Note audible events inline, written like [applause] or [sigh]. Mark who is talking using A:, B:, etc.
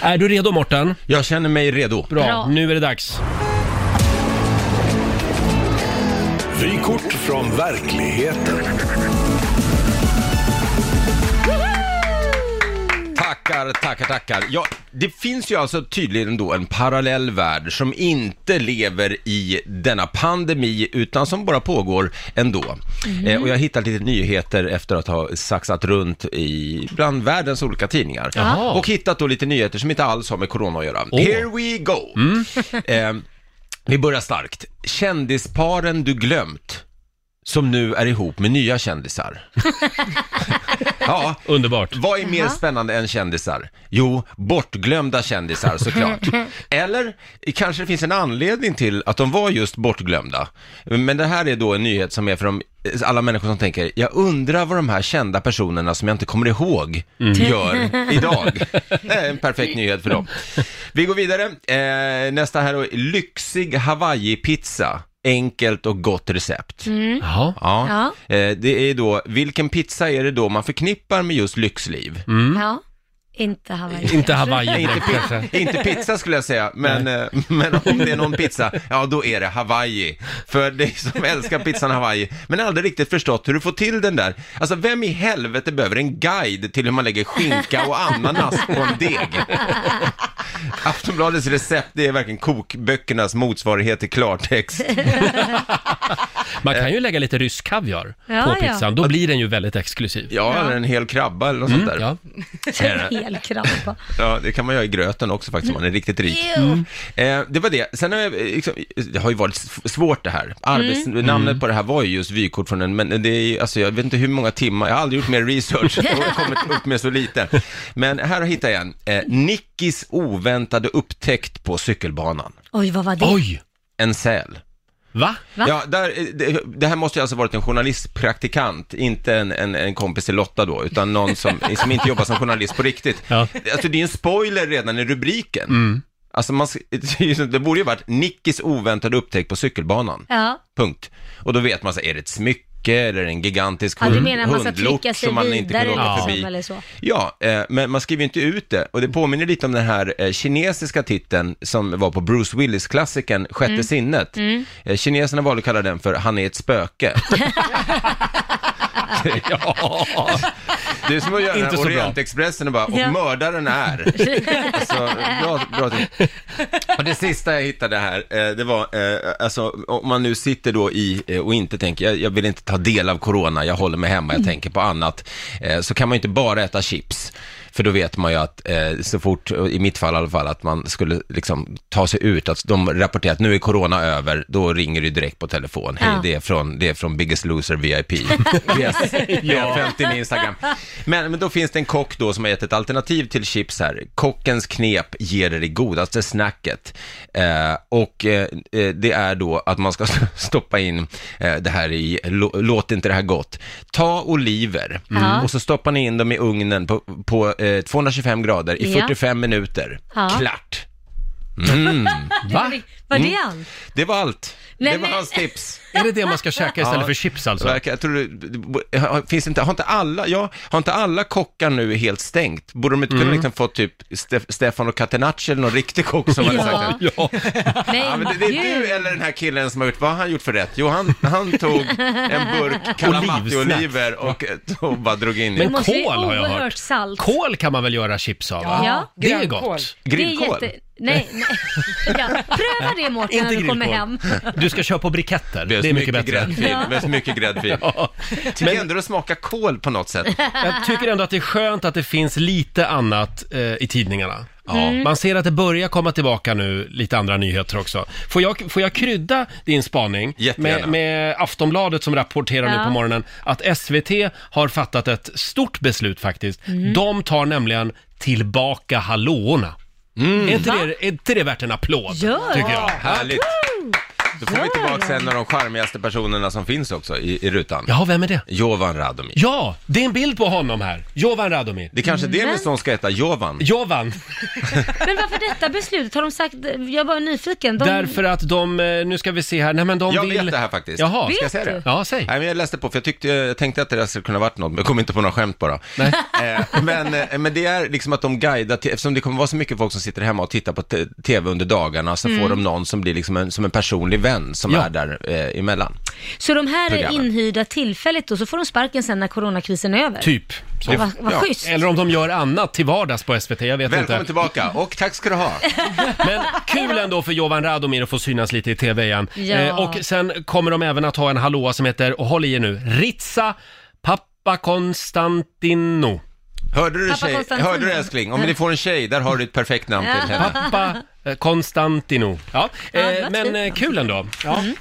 A: Är du redo Morten?
B: Jag känner mig redo.
A: Bra,
C: Bra.
A: nu är det dags.
D: Vykort från verkligheten.
B: Tackar, tackar, tackar. Ja, det finns ju alltså tydligen då en parallell värld som inte lever i denna pandemi utan som bara pågår ändå. Eh, och jag har hittat lite nyheter efter att ha saxat runt i bland världens olika tidningar.
A: Jaha.
B: Och hittat då lite nyheter som inte alls har med corona att göra. Here we go! [laughs] Eh, vi börjar starkt. Kändisparen du glömt som nu är ihop med nya kändisar. ja,
A: Underbart.
C: Mm.
B: vad är mer spännande än kändisar? Jo, bortglömda kändisar såklart. Eller kanske det finns en anledning till att de var just bortglömda. Men det här är då en nyhet som är för de, alla människor som tänker, jag undrar vad de här kända personerna som jag inte kommer ihåg gör idag. Det är en perfekt nyhet för dem. Vi går vidare. Eh, nästa här då, lyxig hawaii-pizza. Enkelt och gott recept.
A: Jaha.
B: Ja. Eh, det är då, vilken pizza är det då man förknippar med just lyxliv?
C: Ja, inte Hawaii.
A: Mm. Inte
C: kanske.
A: Hawaii
B: Inte,
A: direkt kanske.
B: pi- inte pizza skulle jag säga, men, eh, men om det är någon pizza, ja då är det Hawaii. För dig som älskar pizzan Hawaii, men aldrig riktigt förstått hur du får till den där. Alltså vem i helvete behöver en guide till hur man lägger skinka och ananas på en deg? Aftonbladets recept, det är verkligen kokböckernas motsvarighet till klartext.
A: Man kan ju lägga lite rysk kaviar
C: Ja,
A: på
C: ja.
A: pizzan, då blir den ju väldigt exklusiv.
B: Ja, eller en hel krabba eller något sånt där.
A: Ja.
C: [laughs] Hel krabba.
B: Ja, det kan man göra i gröten också faktiskt om man är riktigt rik.
C: Mm.
B: Eh, det var det. Sen har jag, eh, liksom, det har ju varit s- svårt det här. Arbets, Namnet på det här var ju just vykort från en, men det är ju, alltså jag vet inte hur många timmar, jag har aldrig gjort mer research och kommit upp med så lite. Men här hittar jag en. Eh, Nickis oväntade upptäckt på cykelbanan.
C: Oj, vad var det?
A: Oj!
B: En säl.
A: Va?
C: Va?
B: Ja, där, eh, det, det här måste ju alltså varit en journalistpraktikant, inte en, en, en kompis till Lotta då, utan någon som, [laughs] som inte jobbar som journalist på riktigt.
A: Ja.
B: Alltså det är en spoiler redan i rubriken. Alltså man, sk- [laughs] det borde ju varit Nickis oväntade upptäckt på cykelbanan,
C: Ja.
B: punkt. Och då vet man så här, är det ett smycke eller en gigantisk
C: ja,
A: Mm.
B: hund,
C: du menar att man ska
B: hundlock
C: klicka sig
B: som man inte kunde
C: vidare
B: åka
C: liksom,
B: förbi?
C: eller så?
B: Ja, eh, men man skriver ju inte ut det. Och det påminner lite om den här eh, kinesiska titeln som var på Bruce Willis-klassikern Sjätte sinnet. Eh, kineserna valde att kalla den för Han är ett spöke.
A: [laughs] Ja.
B: Det är som att göra den
A: Inte
B: här
A: så bra.
B: Orientexpressen och bara, och
C: Ja.
B: mördaren
C: [laughs]
B: är. alltså, bra, bra till. Och det sista jag hittade här, eh, det var, eh, alltså om man nu sitter då i eh, och inte tänker, jag, jag vill inte ta del av corona, jag håller mig hemma, jag
C: Mm.
B: tänker på annat, eh, så kan man ju inte bara äta chips. För då vet man ju att eh, så fort, i mitt fall i alla fall, att man skulle liksom ta sig ut, att de rapporterar att nu är corona över, då ringer du direkt på telefon. Hej,
C: Ja.
B: det, är från, det är från Biggest Loser VIP. [laughs] Yes, ja. 50 med Instagram. Men, men då finns det en kock då som har gett ett alternativ till chips här. Kockens knep ger er det godaste snacket. Eh, och eh, eh, det är då att man ska [laughs] stoppa in eh, det här i, lå- låt inte det här gott. Ta oliver
C: Ja.
B: och så stoppar ni in dem i ugnen på, på eh, 225 grader i
C: Ja.
B: 45 minuter.
C: Ja.
B: Klart!
A: Mm. [laughs] Va? Mm.
C: Var det allt?
B: Det var allt.
C: Nej,
B: det var
C: men- eh,
B: hans tips.
A: Är det det man ska käka istället
B: Ja.
A: för chips
B: Så
A: alltså?
B: jag, jag tror, det- har- finns inte, har inte alla, ja, har inte alla kockar nu helt stängt? Borde de inte
A: Mm.
B: kunna liksom få typ Ste- Stefano Catenacci eller någon riktig kock som hade
C: Ja.
B: sagt det?
A: [laughs] Ja.
B: Ja,
C: Men
B: men det, det är du
C: gud.
B: eller den här killen som har gjort, vad har han gjort för rätt? Jo, han, han tog en burk
A: [laughs]
B: Kalamati-oliver och, och bara drog in
C: Det
B: i.
A: Men
C: måste bli
A: kål har jag
C: oerhört
A: hört.
C: salt.
A: Kål kan man väl göra chips av? va?
C: Ja.
A: Det är
E: Grönkål.
A: gott.
B: Grillkål?
C: Det är jätte... Nej,
A: [laughs]
C: nej. Ja, pröva det Mårten när
A: Inte
C: du kommer
A: grillkål.
C: hem.
A: Du ska köpa på briketter, det är, mycket, bättre.
B: Gräddfil,
C: Ja.
B: Det behövs mycket gräddfil.
A: Ja.
C: Typ
B: Tycker ändå det smakar kål på något sätt.
A: [laughs] Jag tycker ändå att det är skönt att det finns lite annat eh, i tidningarna. Man ser att det börjar komma tillbaka nu, lite andra nyheter också. Får jag, får jag krydda din spaning
B: Jättegärna.
A: med, med Aftonbladet som rapporterar nu
C: Ja.
A: på morgonen att SVT har fattat ett stort beslut faktiskt. De tar nämligen tillbaka hallåorna. Är, inte det, är inte det värt en applåd?
C: Gör.
A: Tycker jag.
B: Härligt. Då får vi tillbaka en av de charmigaste personerna som finns också i, i rutan.
A: Jaha, vem är det?
B: Jovan Radomir.
A: Ja, det är en bild på honom här. Jovan Radomir.
B: Det är kanske är
C: Mm.
B: det vi som ska heta, Jovan.
A: Jovan,
C: Men varför detta beslutet? Har de sagt, jag var nyfiken. De,
A: därför att de, eh, nu ska vi se här, nej men de
B: Jag
A: vill...
B: vet det här faktiskt.
A: Jaha.
B: Ska jag
C: Vet
B: säga
C: du?
B: det?
A: Ja, säg.
B: Nej, men jag läste på för jag, tyckte, jag tänkte att det där skulle kunna varit något, men jag kom inte på några skämt bara. [laughs] Eh, men, eh, men det är liksom att de guidar, till, eftersom det kommer vara så mycket folk som sitter hemma och tittar på te- tv under dagarna, så
C: Mm.
B: får de någon som blir liksom en, som en personlig vän som
A: Ja.
B: är där eh, emellan.
C: så de här är
B: Programmen.
C: inhyrda tillfälligt och så får de sparken sen när coronakrisen är över.
A: Typ. Så.
C: Vad vad
B: Ja.
C: schysst.
A: Eller om de gör annat till vardags på SVT, jag vet
B: Välkommen
A: inte.
B: tillbaka och tack ska du ha.
A: Men kul ändå för Jovan Radomir att få synas lite i TV igen.
C: Ja.
A: Eh, och sen kommer de även att ha en hallåa som heter, och håll i er nu, Ritsa Pappa Konstantino.
B: Hörde du,
C: Pappa
B: tjej,
C: Konstantin.
B: hörde du älskling, om ni får en tjej, där har du ett perfekt namn till henne.
A: Pappa eh, Konstantino. Ja,
C: Ja, det
A: eh,
C: var
A: men
C: fint. Mm.
A: eh, kul ändå. Ja.